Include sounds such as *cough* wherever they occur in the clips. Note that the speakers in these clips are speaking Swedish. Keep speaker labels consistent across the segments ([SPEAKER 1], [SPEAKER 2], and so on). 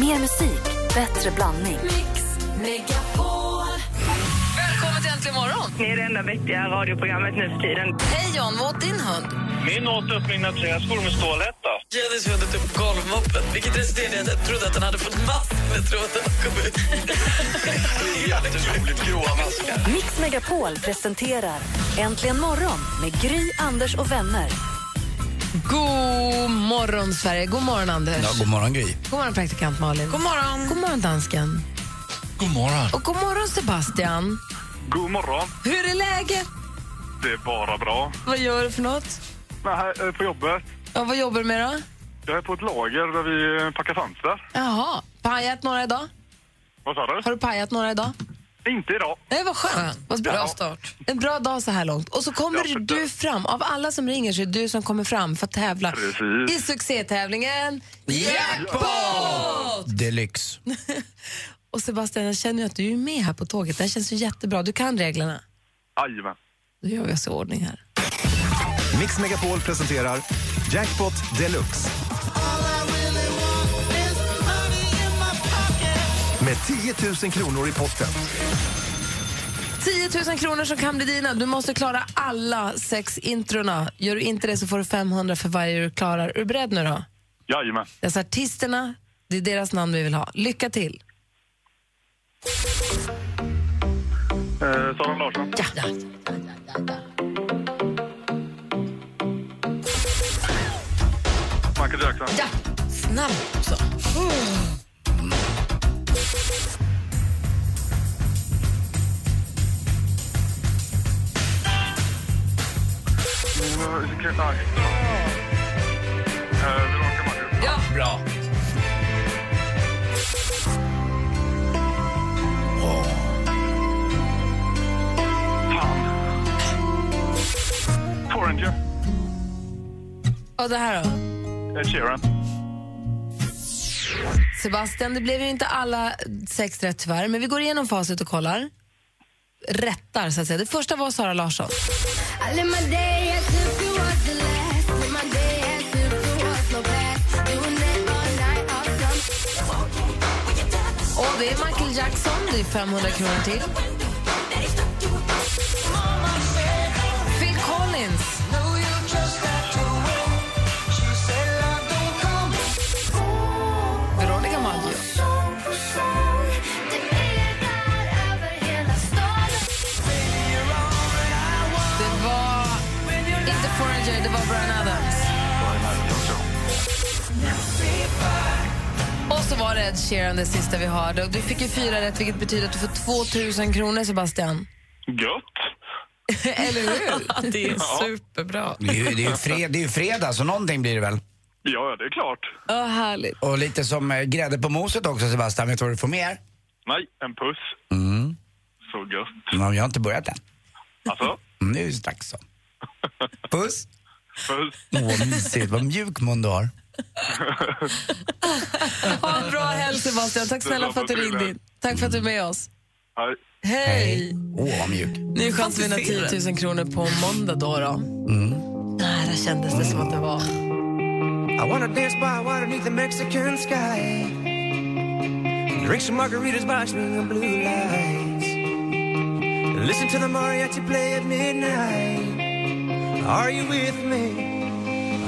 [SPEAKER 1] Mer musik, bättre blandning.
[SPEAKER 2] Välkommen till Äntligen morgon!
[SPEAKER 3] Ni är det enda vettiga radioprogrammet nu för tiden.
[SPEAKER 2] Hej John, vad åt din hund?
[SPEAKER 4] Min åt upp mina träskor med stålhätta.
[SPEAKER 5] Jennies hund åt upp golvmoppen, vilket resulterade i att jag trodde att den hade fått mask när tråden kom ut.
[SPEAKER 4] Jätteroligt, gråa maskar.
[SPEAKER 1] Mix Megapol presenterar Äntligen morgon med Gry, Anders och vänner.
[SPEAKER 6] God morgon, Sverige. God morgon, Anders.
[SPEAKER 7] Ja, god morgon, Gry.
[SPEAKER 6] God morgon, praktikant Malin. God morgon. God morgon, dansken.
[SPEAKER 7] God morgon.
[SPEAKER 6] Och god morgon, Sebastian.
[SPEAKER 8] God morgon.
[SPEAKER 6] Hur är läget?
[SPEAKER 8] Det är bara bra.
[SPEAKER 6] Vad gör du för något?
[SPEAKER 8] Nej, här, eh, på jobbet.
[SPEAKER 6] Ja, vad jobbar du med då?
[SPEAKER 8] Jag är på ett lager där vi eh, packar fönster.
[SPEAKER 6] Jaha, pajat några idag?
[SPEAKER 8] Vad sa du?
[SPEAKER 6] Har du pajat några idag?
[SPEAKER 8] Inte idag.
[SPEAKER 6] Nej, vad skönt. Vad bra.
[SPEAKER 8] Bra
[SPEAKER 6] start. En bra dag så här långt. Och så kommer
[SPEAKER 8] Ja, för
[SPEAKER 6] du
[SPEAKER 8] det-
[SPEAKER 6] fram. Av alla som ringer så är det du som kommer fram för att tävla
[SPEAKER 8] Precis.
[SPEAKER 6] i succétävlingen Jackpot!
[SPEAKER 7] Deluxe.
[SPEAKER 6] Och Sebastian, jag känner ju att du är med här på tåget. Det här känns ju jättebra. Du kan reglerna.
[SPEAKER 8] Jajamän.
[SPEAKER 6] Då gör vi oss i ordning här.
[SPEAKER 9] Mix Megapol presenterar Jackpot Deluxe. Med 10 000 kronor i potten.
[SPEAKER 6] 10 000 kronor som kan bli dina. Du måste klara alla sex introna. Gör du inte det så får du 500 för varje du klarar. Är du beredd nu då?
[SPEAKER 8] Jajamän.
[SPEAKER 6] Dessa artisterna, det är deras namn vi vill ha. Lycka till!
[SPEAKER 8] Eh, Sara Larsson.
[SPEAKER 6] Ja.
[SPEAKER 8] Michael Jackson.
[SPEAKER 6] Ja. Snabb så.
[SPEAKER 8] Eh, Ke- nej. Eh, Veronica Maggio.
[SPEAKER 7] Bra.
[SPEAKER 8] Fan. Foreigner.
[SPEAKER 6] Och det här då?
[SPEAKER 8] Ed Sheeran.
[SPEAKER 6] Sebastian, det blev ju inte alla sex rätt tyvärr, men vi går igenom facit och kollar. Rättar, så att säga. Det första var Sara Larsson. Och det är Michael Jackson, det är 500 kronor till. Phil Collins. Veronica Maggio. Det var inte Foreigner, det var Bryan Adams. Och så var det Ed Sheeran, det sista vi hörde. Och Du fick ju fyra rätt, vilket betyder att du får 2 000 kronor, Sebastian.
[SPEAKER 8] Gött.
[SPEAKER 6] Eller hur?
[SPEAKER 5] Det är superbra.
[SPEAKER 7] Det är ju, det är ju, fred, det är ju fredag, så någonting blir det väl.
[SPEAKER 8] Ja, det är klart.
[SPEAKER 6] Ja, härligt.
[SPEAKER 7] Och lite som eh, grädde på moset också, Sebastian. Vet du vad du får mer?
[SPEAKER 8] Nej, en puss. Så gött.
[SPEAKER 7] Men jag har inte börjat än.
[SPEAKER 8] Alltså,
[SPEAKER 7] Mm, Nu är det
[SPEAKER 9] *laughs*
[SPEAKER 7] strax så.
[SPEAKER 8] puss.
[SPEAKER 7] Puss. Åh, vad mysigt. Vad mjuk mun du har.
[SPEAKER 6] Ha en bra helg, Sebastian. Tack snälla för att du ringde in. Tack för att du är med oss.
[SPEAKER 8] Hej.
[SPEAKER 6] Hej!
[SPEAKER 7] Åh, vad mjuk.
[SPEAKER 6] Ny chans att vinna 10 000 kronor på måndag då. då. Nära kändes det som att det var.
[SPEAKER 10] I wanna dance by water beneath the Mexican sky. Drink some margaritas by swinging blue lights. Listen to the mariachi play at midnight. Are you with me?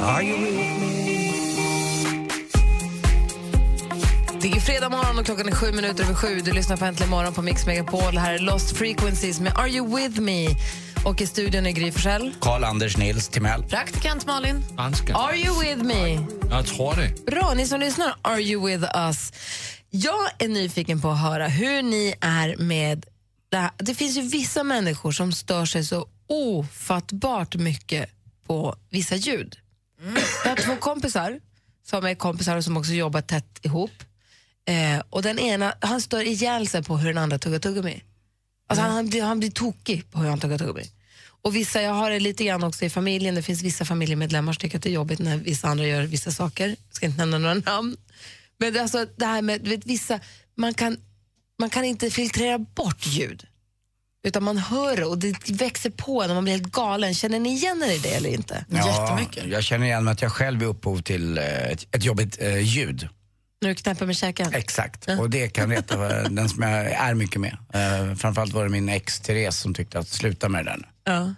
[SPEAKER 10] Are you with me?
[SPEAKER 6] Det är fredag morgon och klockan är sju minuter över sju. Du lyssnar på Äntligen morgon på Mix Megapol. Här är Lost Frequencies med Are You With Me? Och i studion är Gry Forssell.
[SPEAKER 7] Karl-Anders Nils Timell.
[SPEAKER 2] Praktikant Malin.
[SPEAKER 6] Are you with me?
[SPEAKER 11] Jag tror det.
[SPEAKER 6] Bra, ni som lyssnar, are you with us? Jag är nyfiken på att höra hur ni är med det här. Det finns ju vissa människor som stör sig så ofattbart mycket på vissa ljud. Jag har två kompisar som är kompisar och som också jobbar tätt ihop. Eh, och den ena, han stör ihjäl sig på hur den andra tuggar tuggummi. Alltså han, han, blir, han blir tokig på hur han tuggar tuggummi. Och vissa, jag har det lite grann också i familjen, det finns vissa familjemedlemmar som tycker att det är jobbigt när vissa andra gör vissa saker. Jag ska inte nämna några namn. Men det, är alltså, det här med, du vet, vissa, man kan, man kan inte filtrera bort ljud. Utan man hör det och det växer på en och man blir helt galen. Känner ni igen er i det eller inte?
[SPEAKER 7] Ja, Jättemycket. Jag känner igen mig att jag själv är upphov till eh, ett, ett jobbigt eh, ljud.
[SPEAKER 6] När du knäpper med käken?
[SPEAKER 7] Exakt, och det kan jag veta var den som jag är mycket med. Eh, framförallt var det min ex Therese som tyckte att sluta med det där nu.
[SPEAKER 6] Ja.
[SPEAKER 7] Nu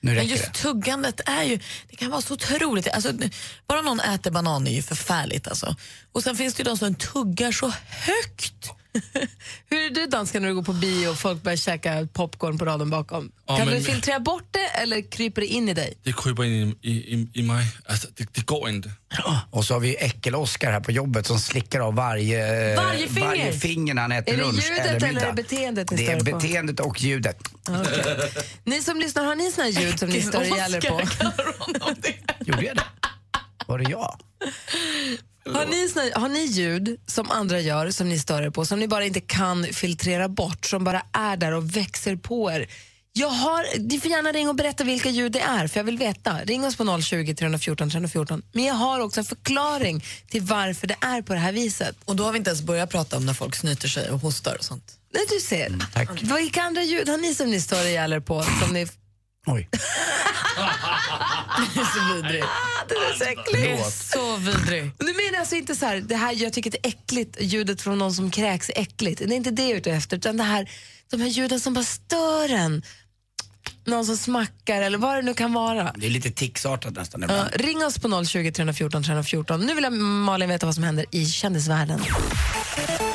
[SPEAKER 5] Men
[SPEAKER 7] räcker
[SPEAKER 5] just
[SPEAKER 7] det.
[SPEAKER 5] tuggandet är ju, det kan vara så otroligt. Alltså, bara någon äter banan är ju förfärligt alltså. Och sen finns det ju de som tuggar så högt.
[SPEAKER 6] *laughs* Hur är du dansken när du går på bio och folk börjar käka popcorn på raden bakom?
[SPEAKER 11] Ja,
[SPEAKER 6] kan
[SPEAKER 11] men-
[SPEAKER 6] du filtrera bort det eller kryper det in i dig?
[SPEAKER 11] *laughs* Det kryper in i, i, i mig. Alltså, det, det går inte.
[SPEAKER 7] Och så har vi äckel-Oskar här på jobbet som slickar av varje, eh,
[SPEAKER 6] Varje finger?
[SPEAKER 7] varje finger när han äter
[SPEAKER 6] Är det
[SPEAKER 7] lunch
[SPEAKER 6] ljudet
[SPEAKER 7] eller
[SPEAKER 6] eller är
[SPEAKER 7] middag.
[SPEAKER 6] det beteendet ni
[SPEAKER 7] Det är
[SPEAKER 6] stör på?
[SPEAKER 7] beteendet och ljudet.
[SPEAKER 6] Ni som lyssnar, har ni såna här ljud som ni
[SPEAKER 5] Vilken
[SPEAKER 6] stör ihjäl er på?
[SPEAKER 7] Gjorde jag det? Var det jag?
[SPEAKER 6] Har ni, såna, har ni ljud som andra gör som ni stör er på, som ni bara inte kan filtrera bort, som bara är där och växer på er? Jag har, ni får gärna ringa och berätta vilka ljud det är, för jag vill veta. Ring oss på 020 314 314. Men jag har också en förklaring till varför det är på det här viset.
[SPEAKER 5] Och då har vi inte ens börjat prata om när folk snyter sig och hostar och sånt.
[SPEAKER 6] Nej, du ser. Vilka andra ljud har ni som ni stör ihjäl er på? Som ni...
[SPEAKER 7] Oj.
[SPEAKER 5] Det är så vidrigt.
[SPEAKER 6] Det Ah, är så
[SPEAKER 5] Det
[SPEAKER 6] äckligt.
[SPEAKER 5] är så vidrigt.
[SPEAKER 6] Alltså, Nu menar jag alltså inte så här, det här jag tycker det är äckligt, ljudet från någon som kräks är äckligt. Det är inte det jag är ute efter, utan det här, de här ljuden som bara stör en. Någon som smackar eller vad det nu kan vara.
[SPEAKER 7] Det är lite ticsartat nästan
[SPEAKER 6] Ja,
[SPEAKER 7] ibland.
[SPEAKER 6] ring oss på 020 314 314. Nu vill jag Malin veta vad som händer i kändisvärlden.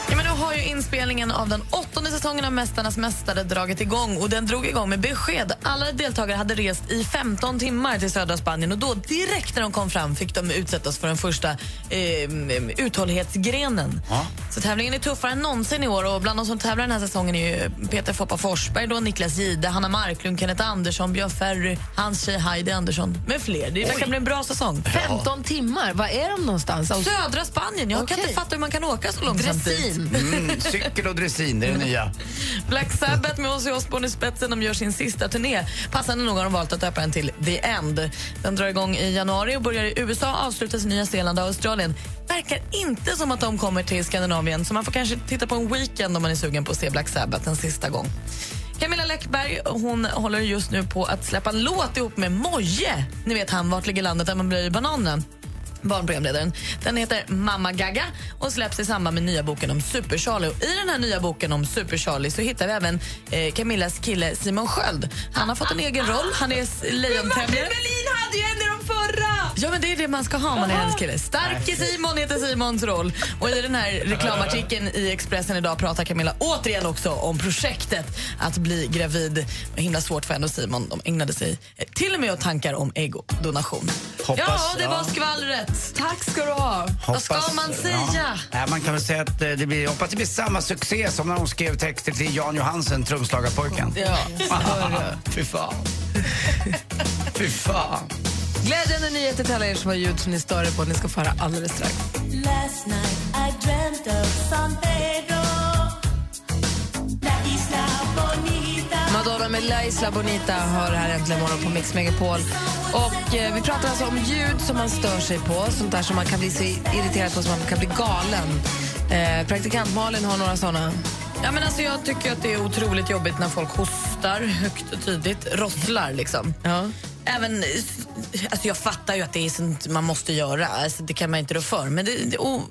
[SPEAKER 5] Ja, men nu har ju inspelningen av den åttonde säsongen av Mästarnas mästare dragit igång och den drog igång med besked. Alla deltagare hade rest i 15 timmar till södra Spanien och då direkt när de kom fram fick de utsättas för den första eh, mm, uthållighetsgrenen. Så tävlingen är tuffare än någonsin i år och bland de som tävlar den här säsongen är ju Peter Foppa Forsberg, då, Niklas Jihde, Hanna Marklund, Kenneth Andersson, Björn Ferry, hans tjej Heidi Andersson med fler. Det verkar bli en bra säsong.
[SPEAKER 6] 15 timmar, var är de någonstans? Och-
[SPEAKER 5] Södra Spanien, jag kan
[SPEAKER 6] Okej.
[SPEAKER 5] inte fatta hur man kan åka så långt samtidigt.
[SPEAKER 6] Dressin.
[SPEAKER 5] *laughs*
[SPEAKER 7] Mm, cykel och dressin, det är det nya.
[SPEAKER 5] Black Sabbath med Ozzy Osbourne i spetsen de gör sin sista turné. Passande nog har de valt att döpa den till The End. Den drar igång i januari och börjar i USA, avslutas i Nya Zeeland och Australien. Verkar inte som att de kommer till Skandinavien så man får kanske titta på en weekend om man är sugen på att se Black Sabbath en sista gång. Camilla Läckberg hon håller just nu på att släppa en låt ihop med Moje. Ni vet han, Vart ligger landet där man blöjer bananen? barnprogramledaren. Den heter Mamma Gaga och släpps i samband med nya boken om Super-Charlie. Och I den här nya boken om Super-Charlie så hittar vi även eh, Camillas kille Simon Sköld. Han har fått en egen roll. Han är s- lejontämjare.
[SPEAKER 6] hade ju en i de förra!
[SPEAKER 5] Ja, men det är det man ska ha om man är hennes kille. Starke Simon heter Simons roll. Och i
[SPEAKER 7] *laughs*
[SPEAKER 5] den här reklamartikeln i Expressen idag pratar Camilla återigen också om projektet att bli gravid. Det var himla svårt för henne och Simon. De ägnade sig eh, till och med åt tankar om äggdonation.
[SPEAKER 7] Hoppas,
[SPEAKER 5] ja, det var
[SPEAKER 7] ja.
[SPEAKER 5] skvallret.
[SPEAKER 6] Tack ska du ha.
[SPEAKER 5] Vad ska man säga?
[SPEAKER 7] Ja. Äh, man kan väl säga att eh, det blir, jag hoppas det blir samma succé som när hon skrev texter till Jan Johansen, trumslagarpojken.
[SPEAKER 5] Ja.
[SPEAKER 7] *laughs* Fy fan. Fy fan.
[SPEAKER 6] Glädjande nyheter till alla er som har ljud som ni stör er på. Ni ska få höra alldeles strax.
[SPEAKER 1] Last night I dreamt of San Pedro La isla bonita
[SPEAKER 6] Madonna med La Isla Bonita hör här äntligen morgon på Mix Megapol. Och eh, vi pratar alltså om ljud som man stör sig på, sånt där som man kan bli så irriterad på så man kan bli galen. Eh, praktikant Malin har några såna.
[SPEAKER 5] Ja, men alltså, jag tycker att det är otroligt jobbigt när folk hostar högt och tydligt, rosslar liksom.
[SPEAKER 6] Ja.
[SPEAKER 5] Även, alltså jag fattar ju att det är sånt man måste göra, alltså det kan man inte rå för, men det, det, o-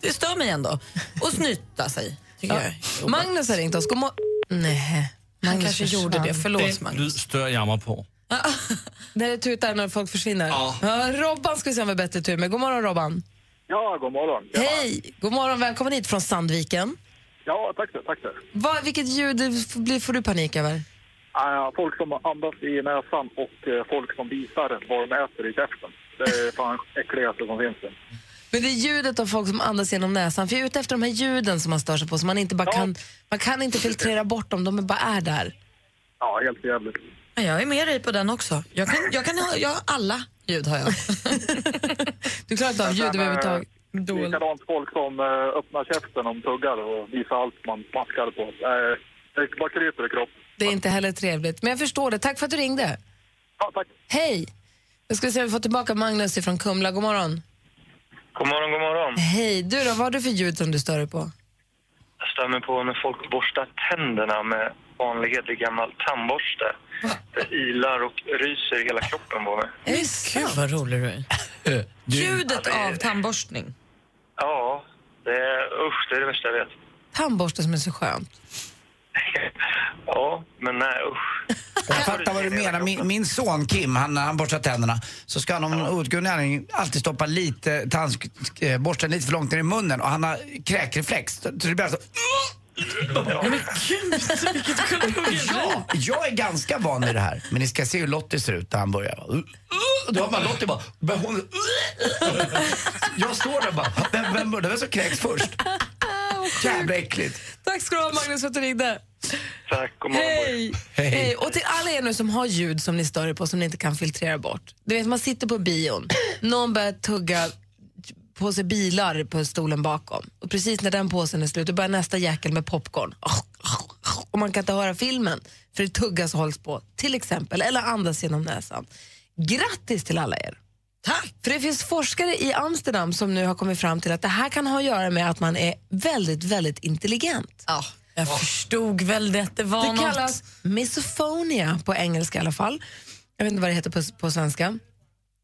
[SPEAKER 5] det stör mig ändå. Och snyta sig, tycker jag.
[SPEAKER 6] Magnus har ringt oss. God mo- Nej.
[SPEAKER 5] Han
[SPEAKER 6] Magnus
[SPEAKER 5] kanske
[SPEAKER 6] försvann.
[SPEAKER 5] gjorde det, förlåt
[SPEAKER 11] Det
[SPEAKER 5] Magnus.
[SPEAKER 11] lyd stör jag mig på.
[SPEAKER 6] När det tutar när folk försvinner.
[SPEAKER 11] Ja.
[SPEAKER 6] Robban ska vi se om vi har bättre tur med. God morgon Robban.
[SPEAKER 8] Ja, god morgon.
[SPEAKER 6] Hej! God morgon, välkommen hit från Sandviken.
[SPEAKER 8] Ja, tack så, tack så.
[SPEAKER 6] Vad, vilket ljud f- blir- får du panik över?
[SPEAKER 8] Ah, folk som andas i näsan och eh, folk som visar vad de äter i käften.
[SPEAKER 6] *laughs*
[SPEAKER 8] Det är fan äckligaste som finns.
[SPEAKER 6] Men det är ljudet av folk som andas genom näsan. För jag är ute efter de här ljuden som man stör sig på. Som man, inte bara
[SPEAKER 8] Ja.
[SPEAKER 6] kan, man kan inte filtrera bort dem, de är bara är där.
[SPEAKER 8] Ja, helt jävligt.
[SPEAKER 5] Ja, jag är med dig på den också. Jag kan, jag kan ha, jag har alla ljud har jag.
[SPEAKER 6] *laughs* Du klarar inte av ljud
[SPEAKER 8] Men, eh,
[SPEAKER 6] överhuvudtaget.
[SPEAKER 8] Likadant folk som eh, öppnar käften om tuggar och visar allt man smaskar på. Eh, Det bara kryper i kroppen.
[SPEAKER 6] Det är inte heller trevligt. Men jag förstår det. Tack för att du ringde.
[SPEAKER 8] Ja, tack.
[SPEAKER 6] Hej! Jag ska se om vi får tillbaka Magnus från Kumla. God morgon.
[SPEAKER 4] God morgon, god morgon.
[SPEAKER 6] Hej! Du då, vad har du för ljud som du stör dig på?
[SPEAKER 4] Jag stör mig på när folk borstar tänderna med vanlig hederlig gammal tandborste. Det ilar och ryser i hela kroppen på mig.
[SPEAKER 6] Är det sant?
[SPEAKER 5] vad rolig du är. Ljudet av tandborstning.
[SPEAKER 4] Ja, det Usch, det är det värsta jag vet.
[SPEAKER 6] Tandborste som är så skönt.
[SPEAKER 4] Ja, men nej usch.
[SPEAKER 7] Jag fattar vad du menar. Min, min son Kim, han, han borstar tänderna. Så ska han om någon outgrundlig anledning alltid stoppa lite tandsk- eh, borsten lite för långt ner i munnen och han har kräkreflex. Så det blir alltså... Ja, jag är ganska van vid det här. Men ni ska se hur Lottie ser ut när han börjar. Och Då har man Lottie bara... men Hon, jag står där och bara... Vem, vem började? Vem som kräks först? Jävla äckligt.
[SPEAKER 6] Tack ska du ha Magnus för att du ringde.
[SPEAKER 4] Tack, god morgon.
[SPEAKER 6] Hej. Hej. Och till alla er nu som har ljud som ni stör er på som ni inte kan filtrera bort. Du vet man sitter på bion, någon börjar tugga på sig bilar på stolen bakom och precis när den påsen är slut då börjar nästa jäkel med popcorn. Och man kan inte höra filmen för det tuggas och hålls på till exempel eller andas genom näsan. Grattis till alla er! Tack! För det finns forskare i Amsterdam som nu har kommit fram till att det här kan ha att göra med att man är väldigt, väldigt intelligent.
[SPEAKER 5] Ja, jag förstod väl det. att Det var
[SPEAKER 6] Det
[SPEAKER 5] något.
[SPEAKER 6] kallas misophonia på engelska i alla fall. Jag vet inte vad det heter på, på svenska.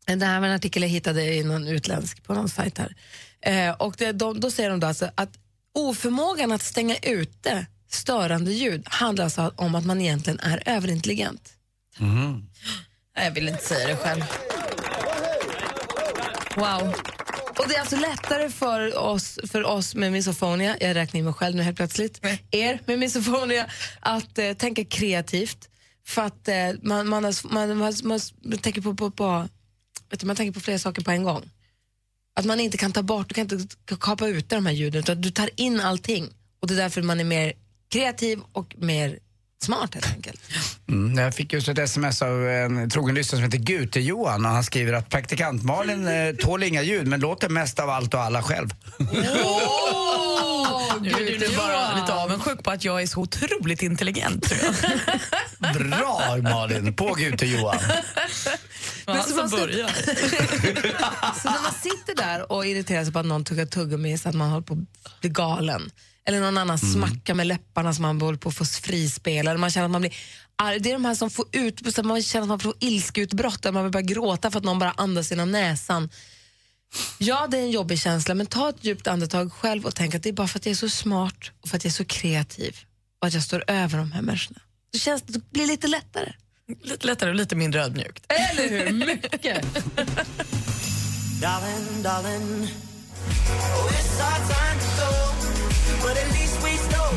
[SPEAKER 6] Det här var en artikel jag hittade i någon utländsk på någon sajt här. Eh, och det, de, då säger de då alltså att oförmågan att stänga ute störande ljud handlar alltså om att man egentligen är överintelligent. Mm.
[SPEAKER 5] Nej, Jag vill inte säga det själv.
[SPEAKER 6] Wow. Och det är alltså lättare för oss, för oss med misofonia, jag räknar in mig själv nu helt plötsligt, er med misofonia, att eh, tänka kreativt. För att eh, man, man, har, man, man, man tänker på, på, på, vet du, man tänker på flera saker på en gång. Att man inte kan ta bort, du kan inte k- kapa ut de här ljuden, utan du tar in allting. Och det är därför man är mer kreativ och mer smart helt enkelt.
[SPEAKER 7] Mm, jag fick just ett sms av en trogen lyssnare som heter Gute-Johan och han skriver att praktikant Malin eh, tål inga ljud men låter mest av allt och alla själv.
[SPEAKER 5] Nu är du nu bara lite avundsjuk på att jag är så otroligt intelligent. tror jag.
[SPEAKER 7] Bra Malin, på Gute-Johan.
[SPEAKER 5] Men
[SPEAKER 6] så man
[SPEAKER 5] man
[SPEAKER 6] ska-
[SPEAKER 5] börjar.
[SPEAKER 6] *laughs* Så när man sitter där och irriterar sig på att någon tuggar tuggummi så att man håller på att bli galen. Eller någon annan smackar med läpparna som man håller på att få frispel. Eller man känner att man blir arg. Det är de här som får ut, så att man känner att man får ilskeutbrott. Där man vill börja gråta för att någon bara andas genom näsan. Ja, det är en jobbig känsla, men ta ett djupt andetag själv och tänk att det är bara för att jag är så smart och för att jag är så kreativ och att jag står över de här människorna. Då känns det, det blir lite lättare.
[SPEAKER 5] Lite lättare och lite mindre ödmjukt.
[SPEAKER 6] Eller hur? Mycket.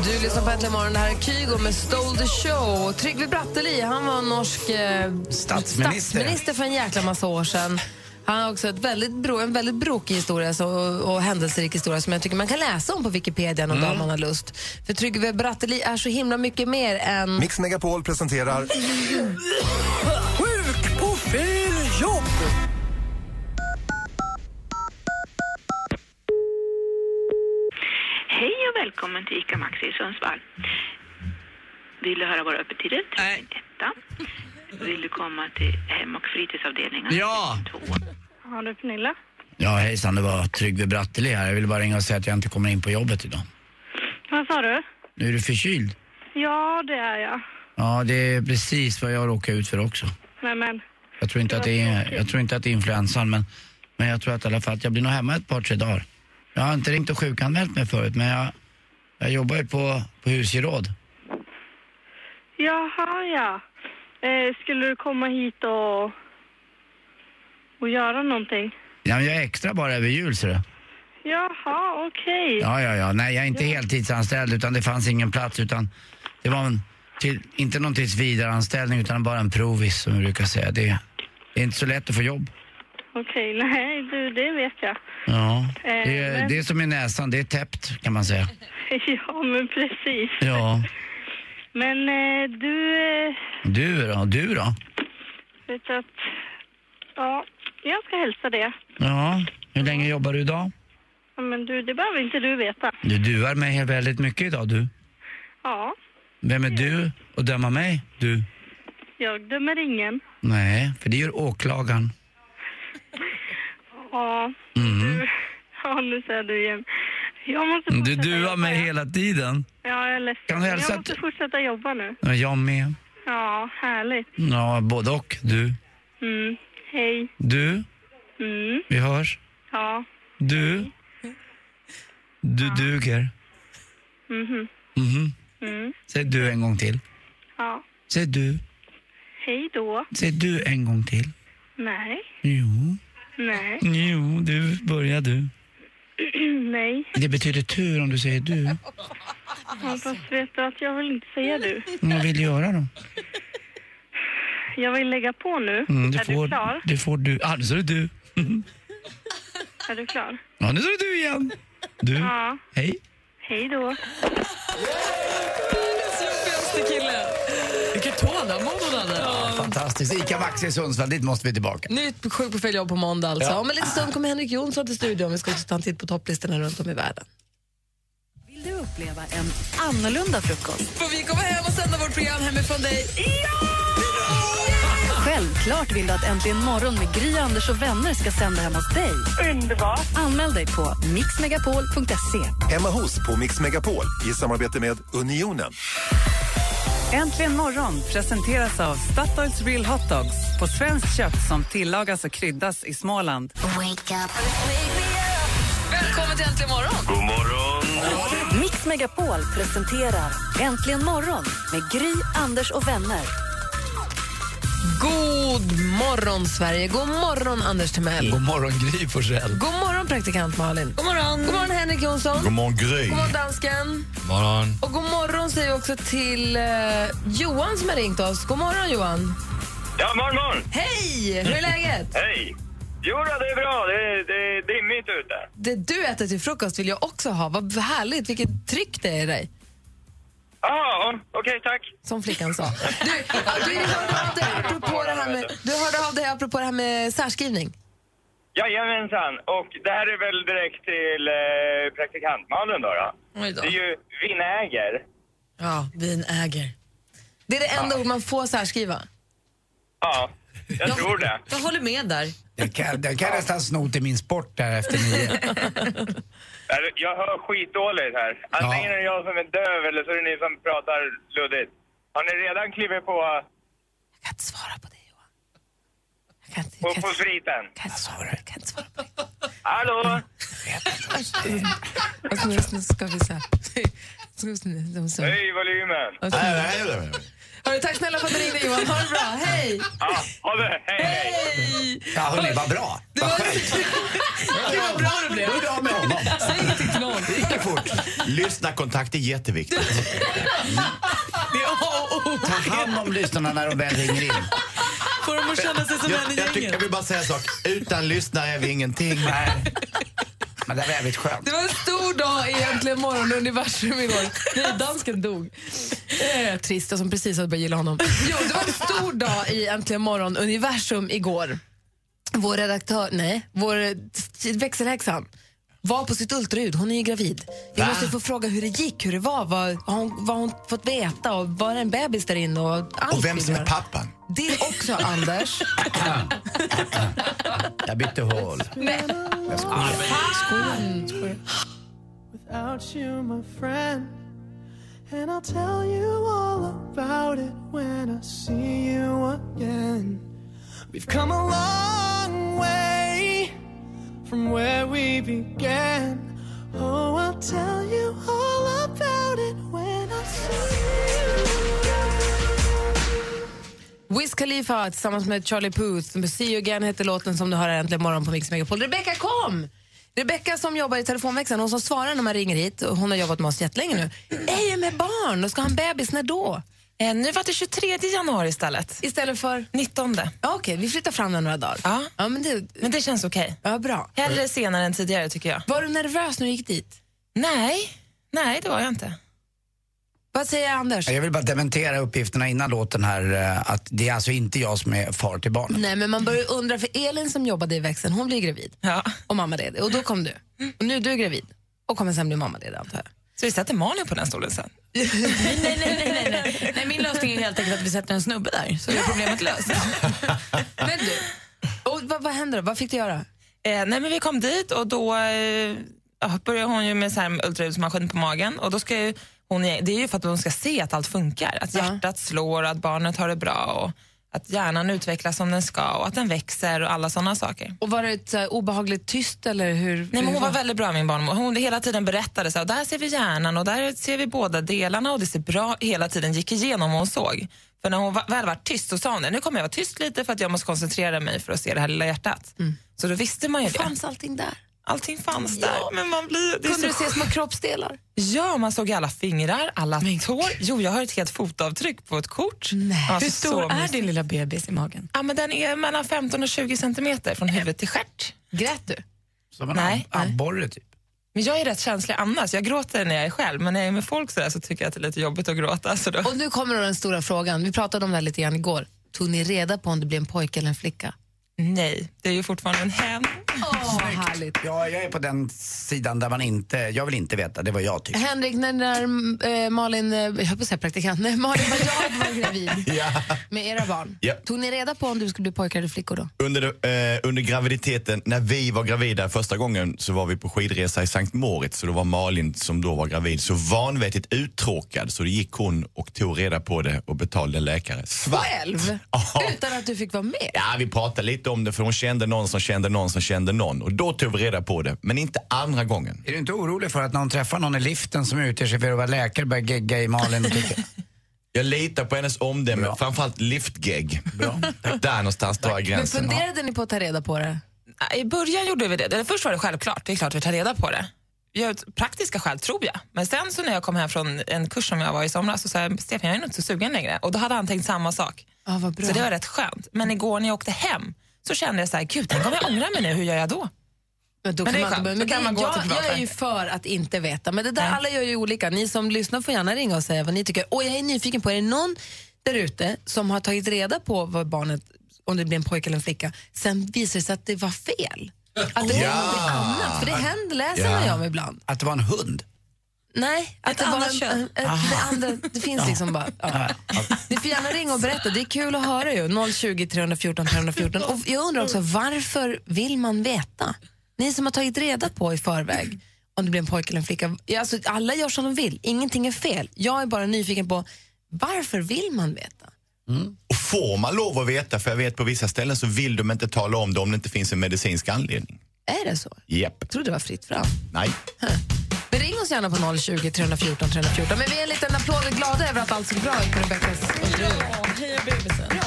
[SPEAKER 6] Du lyssnar på Äntligen morgon. Det här är Kygo med Stole the show. Trygve Bratteli han var norsk eh,
[SPEAKER 7] Statsminister.
[SPEAKER 6] statsminister för en jäkla massa år sedan. Han har också ett väldigt bro, en väldigt brokig historia så, och, och händelserik historia som jag tycker man kan läsa om på Wikipedia någon
[SPEAKER 7] Mm.
[SPEAKER 6] dag om man har lust. För Trygve Bratteli är så himla mycket mer än...
[SPEAKER 9] Mix Megapol presenterar
[SPEAKER 10] Sjuk på fel jobb!
[SPEAKER 3] Hej och välkommen till ICA Maxi i Sundsvall. Vill du höra våra öppettider? Nej. Etta. Vill du komma till hem och fritidsavdelningen?
[SPEAKER 7] Ja.
[SPEAKER 3] Två. Hallå Pernilla.
[SPEAKER 7] Ja hejsan, det var Tryggve Bratteli här. Jag ville bara ringa och säga att jag inte kommer in på jobbet idag.
[SPEAKER 3] Vad sa du?
[SPEAKER 7] Nu är du förkyld.
[SPEAKER 3] Ja, det är jag.
[SPEAKER 7] Ja, det är precis vad jag råkar ut för också.
[SPEAKER 3] Nej men,
[SPEAKER 7] Jag tror inte att det är, jag tror inte att det är influensan, men, men jag tror att i alla fall att jag blir nog hemma ett par, tre dagar. Jag har inte ringt och sjukanmält mig förut, men jag, jag jobbar ju på, på husgeråd.
[SPEAKER 3] jaha ja. Eh, skulle du komma hit och, och göra någonting?
[SPEAKER 7] Ja, men jag är extra bara över jul, ser du.
[SPEAKER 3] Jaha, okej.
[SPEAKER 7] Ja, ja, ja. Nej, jag är inte heltidsanställd utan det fanns ingen plats utan det var en, till, inte någon tillsvidareanställning utan bara en provis som vi brukar säga. Det, det är inte så lätt att få jobb.
[SPEAKER 3] Okej, *laughs* nej du, det vet jag. *laughs*
[SPEAKER 7] Ja, det, är- det är som i näsan, det är täppt kan man säga.
[SPEAKER 3] ja, men precis.
[SPEAKER 7] Ja,
[SPEAKER 3] Men eh, du, eh,
[SPEAKER 7] du då? Du då?
[SPEAKER 3] vet du att... Ja, jag ska hälsa det.
[SPEAKER 7] Ja, hur länge jobbar du idag?
[SPEAKER 3] Ja, Men du, det behöver inte du veta.
[SPEAKER 7] Du duar mig väldigt mycket idag du.
[SPEAKER 3] Ja,
[SPEAKER 7] Vem är du och döma mig? Du?
[SPEAKER 3] jag dömer ingen.
[SPEAKER 7] Nej, för det gör åklagaren.
[SPEAKER 3] Ja,
[SPEAKER 7] Mm.
[SPEAKER 3] *laughs* ja nu säger du igen. Jag måste
[SPEAKER 7] Du
[SPEAKER 3] fortsätta
[SPEAKER 7] duar
[SPEAKER 3] jobba,
[SPEAKER 7] mig
[SPEAKER 3] ja.
[SPEAKER 7] hela tiden.
[SPEAKER 3] Ja, jag är ledsen.
[SPEAKER 7] Kan du
[SPEAKER 3] Men
[SPEAKER 7] hälsa
[SPEAKER 3] jag
[SPEAKER 7] att-
[SPEAKER 3] måste fortsätta jobba nu.
[SPEAKER 7] Ja, Jag med.
[SPEAKER 3] Ja, härligt.
[SPEAKER 7] Ja, både och. Du.
[SPEAKER 3] Mm. Hej.
[SPEAKER 7] Du,
[SPEAKER 3] Mm.
[SPEAKER 7] vi hörs.
[SPEAKER 3] Ja.
[SPEAKER 7] Du, Du duger.
[SPEAKER 3] Mhm.
[SPEAKER 7] Mhm.
[SPEAKER 3] Mm.
[SPEAKER 7] Säg du en gång till.
[SPEAKER 3] Ja.
[SPEAKER 7] Säg du.
[SPEAKER 3] Hej då.
[SPEAKER 7] Säg du en gång till.
[SPEAKER 3] Nej.
[SPEAKER 7] Jo.
[SPEAKER 3] Nej.
[SPEAKER 7] Jo, du. Börja du.
[SPEAKER 3] Nej.
[SPEAKER 7] Det betyder tur om du säger du.
[SPEAKER 3] Ja, fast vet du att jag vill inte säga du.
[SPEAKER 7] Men Vad vill du göra då?
[SPEAKER 3] Jag vill lägga på nu.
[SPEAKER 7] Mm, du
[SPEAKER 3] är
[SPEAKER 7] får,
[SPEAKER 3] du klar?
[SPEAKER 7] Du får du. Ah, nu sa du du.
[SPEAKER 3] Är du klar?
[SPEAKER 7] Ja, nu sa du du igen. Du.
[SPEAKER 3] Ja.
[SPEAKER 7] Hej.
[SPEAKER 3] Hej då.
[SPEAKER 5] Bästa kille! Vilket tålamod hon hade.
[SPEAKER 7] Fantastiskt. Ica Maxi i Sundsvall, dit måste vi tillbaka.
[SPEAKER 6] Nytt Sjuk på fel jobb på måndag alltså.
[SPEAKER 7] Ja.
[SPEAKER 6] Om en liten stund kommer Henrik Jonsson till studion. Vi ska också ta en titt på topplistorna runt om i världen.
[SPEAKER 1] Vill du uppleva en annorlunda frukost?
[SPEAKER 5] Får vi komma hem och sända vårt program hemifrån dig?
[SPEAKER 1] Självklart vill du att Äntligen morgon med Gry, Anders och vänner ska sända hemma hos dig. Underbart! Anmäl dig på mixmegapol.se.
[SPEAKER 9] Hemma hos på Mix Megapol i samarbete med Unionen.
[SPEAKER 12] Äntligen morgon presenteras av Statoils Real Hot Dogs på svenskt kött som tillagas och kryddas i Småland.
[SPEAKER 2] Välkommen till Äntligen morgon!
[SPEAKER 1] God morgon! Mix Megapol presenterar Äntligen morgon med Gry, Anders och vänner.
[SPEAKER 6] God morgon, Sverige. God morgon, Anders Timell.
[SPEAKER 7] God morgon, Gry Forssell.
[SPEAKER 6] God morgon, praktikant Malin. God morgon. God morgon, Henrik Jonsson.
[SPEAKER 11] God morgon, Gry.
[SPEAKER 6] God morgon, dansken.
[SPEAKER 11] Morgon.
[SPEAKER 6] Och god morgon säger vi också till eh, Johan som har ringt oss. God morgon, Johan.
[SPEAKER 13] Ja, morgon, morgon!
[SPEAKER 6] Hej! Hur är läget?
[SPEAKER 13] Hej! Jo, då, det är bra. Det är, det är dimmigt ute.
[SPEAKER 6] Det du äter till frukost vill jag också ha. Vad härligt. Vilket tryck det är i dig.
[SPEAKER 13] Ja, ah, okej, tack.
[SPEAKER 6] Som flickan sa. Du, ja, du hörde av dig apropå det här med, du hörde av dig apropå det här med särskrivning.
[SPEAKER 13] Jajamensan. Och det här är väl direkt till eh, praktikantmannen då, då.
[SPEAKER 5] Oj då.
[SPEAKER 13] Det är ju vinäger.
[SPEAKER 5] Ja, vin äger.
[SPEAKER 6] Det är det enda ord man får särskriva.
[SPEAKER 13] Ja, jag tror det.
[SPEAKER 5] Jag håller med där.
[SPEAKER 7] Jag kan, jag kan nästan sno till min sport där efter
[SPEAKER 3] *laughs*
[SPEAKER 7] nio.
[SPEAKER 13] Eller, Jag hör skitdåligt här. Antingen är det jag som är döv eller så är det ni som pratar luddigt. Har ni redan klivit på... Jag kan inte svara på det, Johan. På, på spriten? Jag
[SPEAKER 6] kan inte svara, jag kan inte svara på
[SPEAKER 13] det. Hallå?
[SPEAKER 6] Alltså, nu- nu ska vi så här. Ska vi se nu, de så-
[SPEAKER 13] Höj volymen!
[SPEAKER 6] Okej. Nej, nej, Hörru, Tack snälla för att du ringde, Johan. Ha det bra. Hej!
[SPEAKER 13] Ja, ha det! Hej, hej!
[SPEAKER 7] Ja, hörni, vad bra. Vad skönt.
[SPEAKER 5] Gud, vad bra det blev.
[SPEAKER 7] Hur är det av med
[SPEAKER 5] *laughs*
[SPEAKER 7] honom?
[SPEAKER 5] Säg ingenting till någon.
[SPEAKER 14] Det gick ju fort. Lyssnarkontakt är jätteviktigt.
[SPEAKER 7] Ta hand om lyssnarna när de väl ringer in.
[SPEAKER 5] Får de att känna sig som
[SPEAKER 14] jag,
[SPEAKER 5] en i
[SPEAKER 14] jag, tycker- jag vill bara säga en sak. Utan lyssnare är vi ingenting.
[SPEAKER 7] Men det var jävligt skönt.
[SPEAKER 6] Det var en stor dag i Äntligen morgon universum igår. *laughs* Nej, dansken dog. Eh, trist, jag som precis hade börjat gilla honom. Jo, det var en stor dag i Äntligen morgon universum igår. Vår redaktör, nej, vår eh, växelhäxan var på sitt ultraljud. Hon är ju gravid. Vi
[SPEAKER 5] Va?
[SPEAKER 6] måste få fråga hur det gick, hur det var, vad har hon, vad har hon fått veta och var det en bebis där inne och allt
[SPEAKER 14] Och vem
[SPEAKER 6] vi
[SPEAKER 14] som
[SPEAKER 6] gör.
[SPEAKER 14] är pappan.
[SPEAKER 6] Det också, Anders.
[SPEAKER 7] Jag bytte hål.
[SPEAKER 6] Nej.
[SPEAKER 7] Jag skojar.
[SPEAKER 6] Fan!
[SPEAKER 15] Without you, my friend, and I'll tell you all about it when I see you again. We've come a long way from where we began. Oh, I'll tell you all about it when I see you again.
[SPEAKER 6] Wiz Khalifa tillsammans med Charlie Puth. med See you again heter låten som du har äntligen morgon på Mix Megapol. Rebecca kom! Rebecca som jobbar i telefonväxeln, hon som svarar när man ringer hit, och hon har jobbat med oss jättelänge nu, är ju med barn och ska ha en bebis. När då?
[SPEAKER 16] Eh, nu var det 23 januari istället.
[SPEAKER 6] Istället för?
[SPEAKER 16] 19.
[SPEAKER 6] Ja, Okej, vi flyttar fram den några dagar. Ja. men, det...
[SPEAKER 16] men det känns okej.
[SPEAKER 6] Ja, bra.
[SPEAKER 16] Hellre senare än tidigare tycker jag.
[SPEAKER 6] Var du nervös när du gick dit?
[SPEAKER 16] Nej, nej det var jag inte.
[SPEAKER 6] Vad säger Anders?
[SPEAKER 7] Jag vill bara dementera uppgifterna innan låten här eh, att det är alltså inte jag som är far till barnet.
[SPEAKER 6] Nej, men man börjar ju undra, för Elin som jobbade i växeln, hon blir gravid. Och mammaledig. Och då kom du. Och nu är du gravid. Och kommer sen bli mammaledig, antar jag.
[SPEAKER 16] Så vi sätter Malin på den stolen
[SPEAKER 6] *laughs*
[SPEAKER 16] sen.
[SPEAKER 5] Nej, min lösning är helt enkelt att vi sätter en snubbe där, så är
[SPEAKER 16] *laughs*
[SPEAKER 5] problemet löst.
[SPEAKER 6] Men du, och vad, vad hände då? Vad fick du göra?
[SPEAKER 16] Eh, nej, men vi kom dit och då eh, ja, började hon ju med så här ultraljudsmaskin på magen. Och då ska ju hon, det är ju för att hon ska se att allt funkar. Att hjärtat slår och att barnet har det bra. Och att hjärnan utvecklas som den ska och att den växer och alla sådana saker.
[SPEAKER 6] Och var det ett så här, obehagligt tyst eller hur?
[SPEAKER 16] Nej, men
[SPEAKER 6] hur
[SPEAKER 16] hon var väldigt bra min barnmor. Hon hela tiden berättade så här, där ser vi hjärnan och där ser vi båda delarna och det ser bra hela tiden gick igenom vad hon såg. För när hon va- väl var tyst så sa hon det, nu kommer jag vara tyst lite för att jag måste koncentrera mig för att se det här lilla hjärtat. Så då visste man ju det.
[SPEAKER 6] fanns allting där?
[SPEAKER 16] Allting fanns där. Men man blir, det är
[SPEAKER 6] Kunde du
[SPEAKER 16] så
[SPEAKER 6] se små kroppsdelar?
[SPEAKER 16] Ja, man såg alla fingrar, alla tår. Jo, jag har ett helt fotavtryck på ett kort. Alltså,
[SPEAKER 17] Hur stor är din lilla bebis i magen?
[SPEAKER 16] Ja, men den är mellan 15 och 20 centimeter från huvud till stjärt.
[SPEAKER 6] Grät du?
[SPEAKER 7] Som en
[SPEAKER 16] Nej.
[SPEAKER 7] ab- abborre typ.
[SPEAKER 16] Men jag är rätt känslig annars. Jag gråter när jag är själv, men när jag är med folk så, där så tycker jag att det är lite jobbigt att gråta. Så då...
[SPEAKER 6] Och nu kommer då den stora frågan. Vi pratade om det här lite grann igår. Tog ni reda på om det blev en pojke eller en flicka?
[SPEAKER 16] Nej, det är ju fortfarande en hen.
[SPEAKER 7] Ja, jag är på den sidan där man inte, jag vill inte veta, det var jag tycker.
[SPEAKER 6] Henrik, när, när eh, Malin, eh, jag höll på att säga praktikant, när Malin var jag var gravid
[SPEAKER 14] *laughs* Ja.
[SPEAKER 6] med era barn,
[SPEAKER 14] Ja.
[SPEAKER 6] tog ni reda på om du skulle bli pojkar eller flickor då?
[SPEAKER 14] Under, eh, under graviditeten, när vi var gravida första gången så var vi på skidresa i Sankt Moritz och då var Malin som då var gravid så vanvettigt uttråkad så det gick hon och tog reda på det och betalade en läkare. Svart!
[SPEAKER 6] Själv?
[SPEAKER 14] Ja.
[SPEAKER 6] Utan att du fick vara med?
[SPEAKER 14] Ja, vi pratade lite om det för hon kände någon som kände någon som kände någon och då tog vi reda på det, men inte andra gången.
[SPEAKER 7] Är du inte orolig för att när hon träffar någon i liften som utger sig för att vara läkare börjar gegga i Malin och tycker
[SPEAKER 14] *laughs* Jag litar på hennes omdöme, framförallt liftgeg. *laughs* Där någonstans drar jag
[SPEAKER 6] Men
[SPEAKER 14] gränsen.
[SPEAKER 6] funderade ni på att ta reda på det?
[SPEAKER 16] Eh, I början gjorde vi det. Eller Först var det självklart, det är klart vi tar reda på det. Jag praktiska skäl, tror jag. Men sen så när jag kom hem från en kurs som jag var i somras så sa jag Stefan, jag är nog inte så sugen längre. Och då hade han tänkt samma sak.
[SPEAKER 6] Ja, vad bra.
[SPEAKER 16] Så det var rätt skönt. Men igår när jag åkte hem så kände jag så här, gud, tänk om jag ångrar mig nu, hur gör jag då?
[SPEAKER 6] Men då
[SPEAKER 16] Men
[SPEAKER 6] kan
[SPEAKER 16] det är
[SPEAKER 6] man inte
[SPEAKER 16] skönt.
[SPEAKER 6] börja.
[SPEAKER 16] Då kan man gå
[SPEAKER 6] jag,
[SPEAKER 16] till
[SPEAKER 6] jag är
[SPEAKER 16] privatläkare.
[SPEAKER 6] ju för att inte veta, men det där alla gör ju olika. Ni som lyssnar får gärna ringa och säga vad ni tycker. Och jag är nyfiken på, är det någon där ute som har tagit reda på vad barnet, om det blir en pojke eller en flicka, sen visar det sig att det var fel? Att det
[SPEAKER 7] Ja.
[SPEAKER 6] var något annat? För det händer, läser man ju om ibland.
[SPEAKER 7] Att det var en hund.
[SPEAKER 6] Nej, att det var
[SPEAKER 7] annat
[SPEAKER 6] en-
[SPEAKER 7] kön.
[SPEAKER 6] en- ett- Det andra, det finns liksom bara. Ah. Ja. Ni får gärna ringa och berätta, det är kul att höra ju. 020 314 314. Och jag undrar också, varför vill man veta? Ni som har tagit reda på i förväg om det blir en pojke eller en flicka. Ja, Alltså, alla gör som de vill, ingenting är fel. Jag är bara nyfiken på, varför vill man veta?
[SPEAKER 14] Och får man lov att veta, för jag vet på vissa ställen så vill de inte tala om det om det inte finns en medicinsk anledning.
[SPEAKER 6] Är det så?
[SPEAKER 14] Japp. Jag
[SPEAKER 6] trodde det var fritt fram.
[SPEAKER 14] Nej.
[SPEAKER 6] Men ring oss gärna på 020 314 314. Men vi är en liten applåd och glada över att allt ser bra ut på Rebeckas
[SPEAKER 5] Ja, heja bebisen.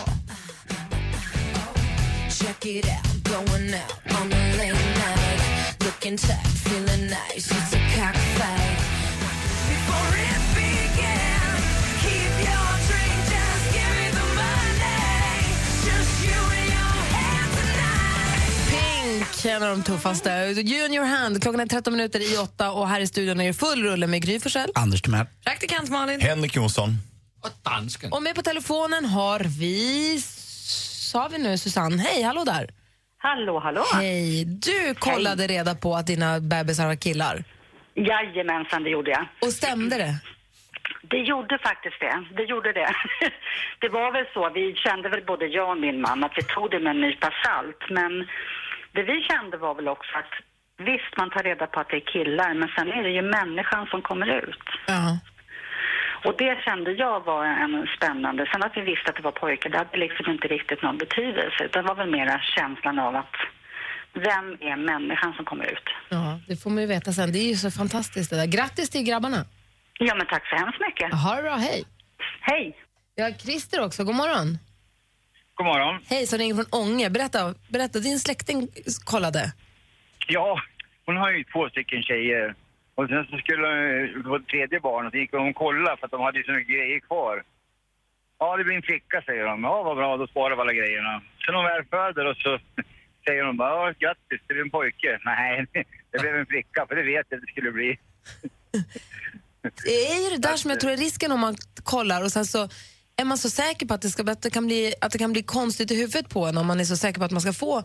[SPEAKER 17] Check it out, going out on a late night. Looking tight, feeling nice, it's a cockfight. Before it began, keep your drink, just give me the money. Just you and your hands
[SPEAKER 6] Pink, en av de tuffaste. Junior Hand, klockan är 13 minuter i åtta och här i studion är det full rulle med Gry Forssell.
[SPEAKER 7] Anders Timell.
[SPEAKER 6] Praktikant Malin.
[SPEAKER 14] Henrik Jonsson.
[SPEAKER 11] Dansken.
[SPEAKER 6] Och med på telefonen har vi, sa vi nu Susanne, hej hallå där.
[SPEAKER 18] Hallå, hallå.
[SPEAKER 6] Hej, du kollade reda på att dina bebisar var killar.
[SPEAKER 18] Jajamensan, det gjorde jag.
[SPEAKER 6] Och stämde det?
[SPEAKER 18] Det gjorde faktiskt det. Det gjorde det. Det var väl så, vi kände väl både jag och min man att vi tog det med en nypa salt. Men det vi kände var väl också att visst, man tar reda på att det är killar, men sen är det ju människan som kommer ut.
[SPEAKER 6] Ja.
[SPEAKER 18] Och det kände jag var en spännande. Sen att vi visste att det var pojkar, det hade liksom inte riktigt någon betydelse. Utan det var väl mera känslan av att vem är människan som kommer ut?
[SPEAKER 6] Ja, det får man ju veta sen. Det är ju så fantastiskt det där. Grattis till grabbarna.
[SPEAKER 18] Ja, men tack så hemskt mycket.
[SPEAKER 6] Ha det bra, hej.
[SPEAKER 18] Hej.
[SPEAKER 6] Vi har Christer också, god morgon.
[SPEAKER 19] God morgon.
[SPEAKER 6] Hej, som ringer från Ånge. Berätta, berätta, din släkting kollade.
[SPEAKER 19] Ja, hon har ju två stycken tjejer. Och sen så skulle hon få ett tredje barn och så gick hon och kollade för att de hade ju så mycket grejer kvar. Ja, det blir en flicka säger de. Ja, vad bra, då sparar vi alla grejerna. Sen hon väl föder och så *laughs* säger de bara, ja, grattis, det blir en pojke. *laughs* Nej, det blev en flicka, för det vet jag att det skulle bli.
[SPEAKER 6] Det är ju det där som jag tror är risken om man kollar och sen så är man så säker på att det, ska, att det, kan, bli, att det kan bli konstigt i huvudet på en om man är så säker på att man ska få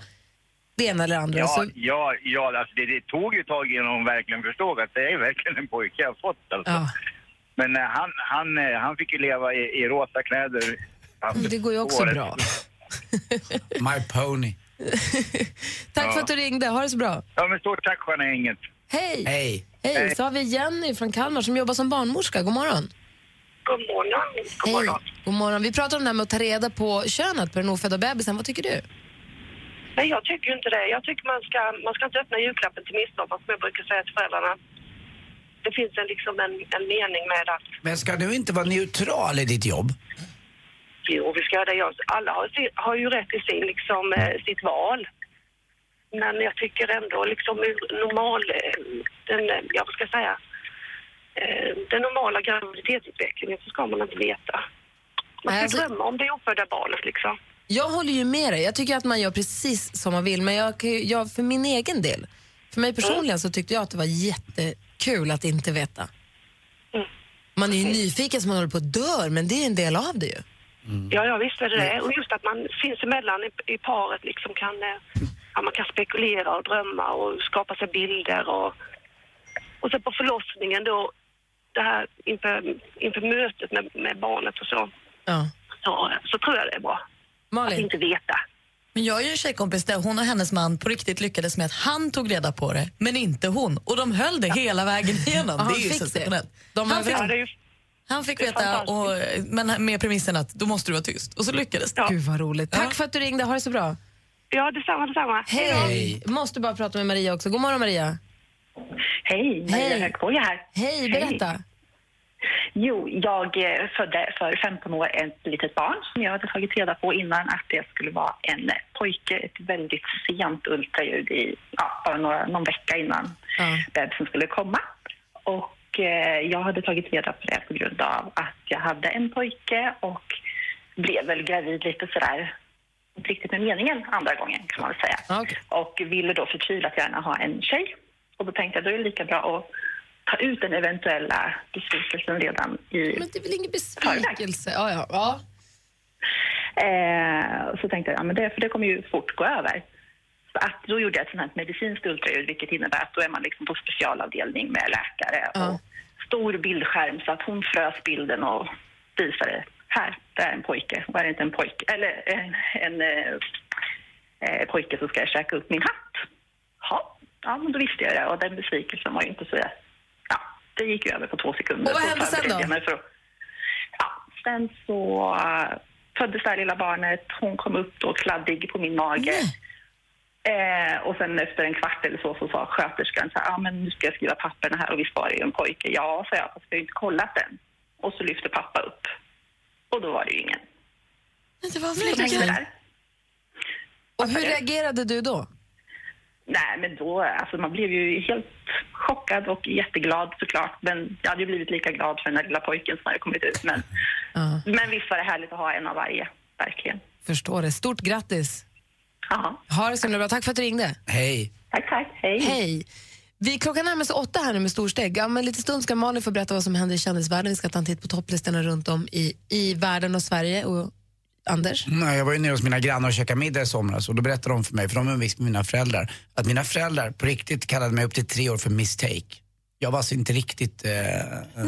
[SPEAKER 6] det ena eller andra.
[SPEAKER 19] Ja,
[SPEAKER 6] Så,
[SPEAKER 19] ja, ja, alltså det, det tog ju ett tag innan hon verkligen förstod att det är verkligen en pojke jag har fått alltså. Men eh, han, han, eh, han fick ju leva i, i rosa kläder.
[SPEAKER 6] Det går ju också
[SPEAKER 19] Året.
[SPEAKER 6] bra. *laughs*
[SPEAKER 7] My pony.
[SPEAKER 6] tack
[SPEAKER 19] Ja.
[SPEAKER 6] för att du ringde, ha det så bra.
[SPEAKER 19] Ja, men stort tack Stjärna Inget.
[SPEAKER 6] Hej!
[SPEAKER 19] Hej.
[SPEAKER 6] Hej!
[SPEAKER 19] Hej.
[SPEAKER 6] Så har vi Jenny från Kalmar som jobbar som barnmorska. God morgon.
[SPEAKER 20] God morgon.
[SPEAKER 6] Hej. God morgon. Vi pratar om det här med att ta reda på könet på den ofödda bebisen. Vad tycker du?
[SPEAKER 20] Nej, jag tycker ju inte det. Jag tycker man ska, man ska inte öppna julklappen till midsommar som jag brukar säga till föräldrarna. Det finns en, liksom en, en mening med att
[SPEAKER 7] Men ska du inte vara neutral i ditt jobb?
[SPEAKER 20] jo, vi ska göra det. Jag- Alla har, si- har ju rätt till sin, liksom, eh, sitt val. Men jag tycker ändå liksom ur normal, eh, den, eh, ja, vad ska jag säga, Eh, den normala graviditetsutvecklingen så ska man inte veta. Man ska
[SPEAKER 6] alltså,
[SPEAKER 20] drömma om det ofödda barnet liksom.
[SPEAKER 6] Jag håller ju med dig. Jag tycker att man gör precis som man vill. Men jag, kan ju- jag, för min egen del, för mig personligen så tyckte jag att det var jättekul att inte veta. Man är ju nyfiken som man håller på att dör, men det är en del av det ju.
[SPEAKER 20] Ja, ja visst är det det. Och just att man sinsemellan i, i paret liksom kan, eh, ja, man kan spekulera och drömma och skapa sig bilder och, och sen på förlossningen då, det här inför, inför mötet med, med barnet och så,
[SPEAKER 6] Ja.
[SPEAKER 20] så, så tror jag det är bra.
[SPEAKER 6] Mm.
[SPEAKER 20] Att inte veta.
[SPEAKER 5] Men jag har ju en tjejkompis där hon och hennes man på riktigt lyckades med att han tog reda på det, men inte hon. Och de höll det hela vägen igenom.
[SPEAKER 6] Ja, han
[SPEAKER 5] det är ju
[SPEAKER 6] fick det.
[SPEAKER 5] sensationellt.
[SPEAKER 6] De var
[SPEAKER 5] han,
[SPEAKER 6] överens. Ja, det är
[SPEAKER 5] fick, han fick
[SPEAKER 6] det är
[SPEAKER 5] veta, och, men med premissen att då måste du vara tyst. Och så lyckades det.
[SPEAKER 6] Gud vad roligt. Tack för att du ringde. Ha det så bra.
[SPEAKER 20] Ja, detsamma, detsamma.
[SPEAKER 6] Hej! Måste bara prata med Maria också. God morgon Maria.
[SPEAKER 21] Hej, Maria Högboja här.
[SPEAKER 6] Hej, berätta.
[SPEAKER 21] Jo, jag eh, födde för 15 år ett litet barn som jag hade tagit reda på innan att det skulle vara en pojke. Ett väldigt sent ultraljud, i, ja, bara några, någon vecka innan bebisen skulle komma. Och eh, jag hade tagit reda på det på grund av att jag hade en pojke och blev väl gravid lite sådär inte riktigt med meningen andra gången kan man väl säga. Och ville då förtvivlat gärna ha en tjej. Och då tänkte jag då är det lika bra att ta ut den eventuella besvikelsen redan i
[SPEAKER 6] Men det är väl ingen besvikelse? Ja, ja, ja.
[SPEAKER 21] Eh, och så tänkte jag, ja, men det, för det kommer ju fort gå över. Så att då gjorde jag ett sånt här medicinskt ultraljud vilket innebär att då är man liksom på specialavdelning med läkare. Och stor bildskärm så att hon frös bilden och visade, här, det är en pojke. Och är det inte en pojke, eller en, en eh, eh, pojke så ska jag käka upp min hatt. Ja, ja men då visste jag det och den besvikelsen var ju inte så... Ja, det gick ju över på två sekunder.
[SPEAKER 6] Och vad hände sen då?
[SPEAKER 21] förberedde jag mig för att- Sen så eh, föddes det här lilla barnet. Hon kom upp då kladdig på min mage. Eh, och sen efter en kvart eller så, så sa sköterskan så här, ah, men nu ska jag skriva papperna här och visst var det ju en pojke. Ja, sa jag, fast vi har ju inte kollat den. Och så lyfte pappa upp. Och då var det ju ingen.
[SPEAKER 6] Det var en
[SPEAKER 21] Så tänkte jag
[SPEAKER 6] flicka.
[SPEAKER 21] där,
[SPEAKER 6] Och hur reagerade du då?
[SPEAKER 21] Nej, men då, alltså man blev ju helt chockad och jätteglad såklart. Men jag hade ju blivit lika glad för den här lilla pojken som hade kommit ut. Men, men visst var det härligt att ha en av varje, verkligen.
[SPEAKER 6] Förstår det. Stort grattis.
[SPEAKER 21] Ja.
[SPEAKER 6] Ha det så himla bra. Tack för att du ringde.
[SPEAKER 7] Hej.
[SPEAKER 21] Tack, tack. Hej.
[SPEAKER 6] Hej. Vi, klockan närmar sig åtta här nu med storsteg. Om en liten stund ska Malin få berätta vad som händer i kändisvärlden. Vi ska ta en titt på topplistorna runt om i, i världen och Sverige. Och Anders?
[SPEAKER 7] Nej, jag var ju nere hos mina grannar och käkade middag i somras och då berättade de för mig, för de är visst med mina föräldrar, att mina föräldrar på riktigt kallade mig upp till tre år för mistake. Jag var alltså inte riktigt... Eh,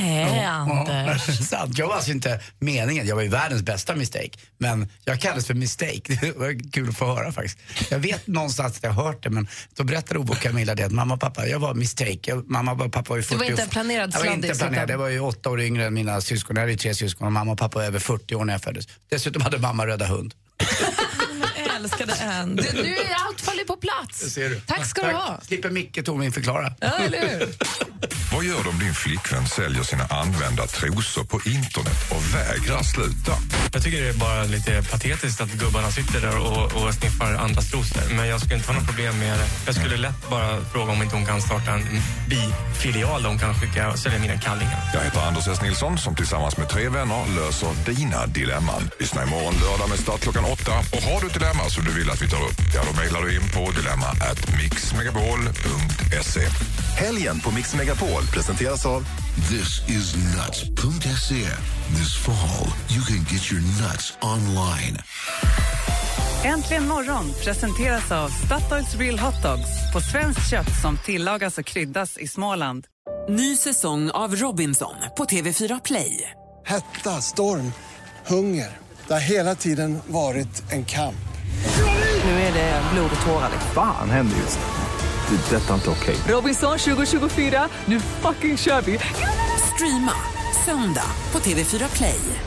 [SPEAKER 5] Nej, Anders.
[SPEAKER 7] *laughs* sant. Jag var alltså inte meningen. Jag var ju världens bästa mistake. Men jag kallades för mistake. *laughs* Det var kul att få höra faktiskt. Jag vet någonstans att jag har hört det, men då berättade Obo och Camilla det att mamma och pappa, jag var mistake. Jag, mamma och pappa var ju 40
[SPEAKER 6] var inte
[SPEAKER 7] och-
[SPEAKER 6] en planerad
[SPEAKER 7] Jag var inte
[SPEAKER 6] sladdis,
[SPEAKER 7] planerad.
[SPEAKER 6] utan-
[SPEAKER 7] Jag var ju åtta år yngre än mina syskon. Jag hade ju tre syskon och mamma och pappa var över 40 år när jag föddes. Dessutom hade mamma röda hund.
[SPEAKER 5] Jag älskade en.
[SPEAKER 6] Du, nu är allt faller på plats.
[SPEAKER 7] Det ser du.
[SPEAKER 6] Tack ska du ha.
[SPEAKER 7] Slipper Micke Tornving förklara.
[SPEAKER 6] Ja, eller hur?
[SPEAKER 22] Vad gör du om din flickvän säljer sina använda trosor på internet och vägrar sluta?
[SPEAKER 23] Jag tycker det är bara lite patetiskt att gubbarna sitter där och, och sniffar andras trosor. Men jag skulle inte ha något problem med det. Jag skulle lätt bara fråga om inte hon kan starta en bifilial där hon kan skicka och sälja mina kallingar.
[SPEAKER 22] Jag heter Anders S. Nilsson som tillsammans med tre vänner löser dina dilemman. Lyssna imorgon lördag med start klockan åtta. Och har du ett dilemma som du vill att vi tar upp, ja då mejlar du in på dilemma at mixmegapol.se.
[SPEAKER 9] Helgen på Mix Megapol presenteras av
[SPEAKER 24] This is nuts.se. This fall, you can get your nuts online.
[SPEAKER 12] Äntligen morgon presenteras av Statoils Real Hot Dogs på svenskt kött som tillagas och kryddas i Småland.
[SPEAKER 25] Ny säsong av Robinson på TV4 Play.
[SPEAKER 26] Hetta, storm, hunger. Det har hela tiden varit en kamp.
[SPEAKER 25] Nu är det blod och tårar.
[SPEAKER 27] Fan händer just nu. Det. är Detta är inte okej.
[SPEAKER 25] Robinson 2024, nu fucking kör vi! Streama
[SPEAKER 12] Söndag på TV4 Play.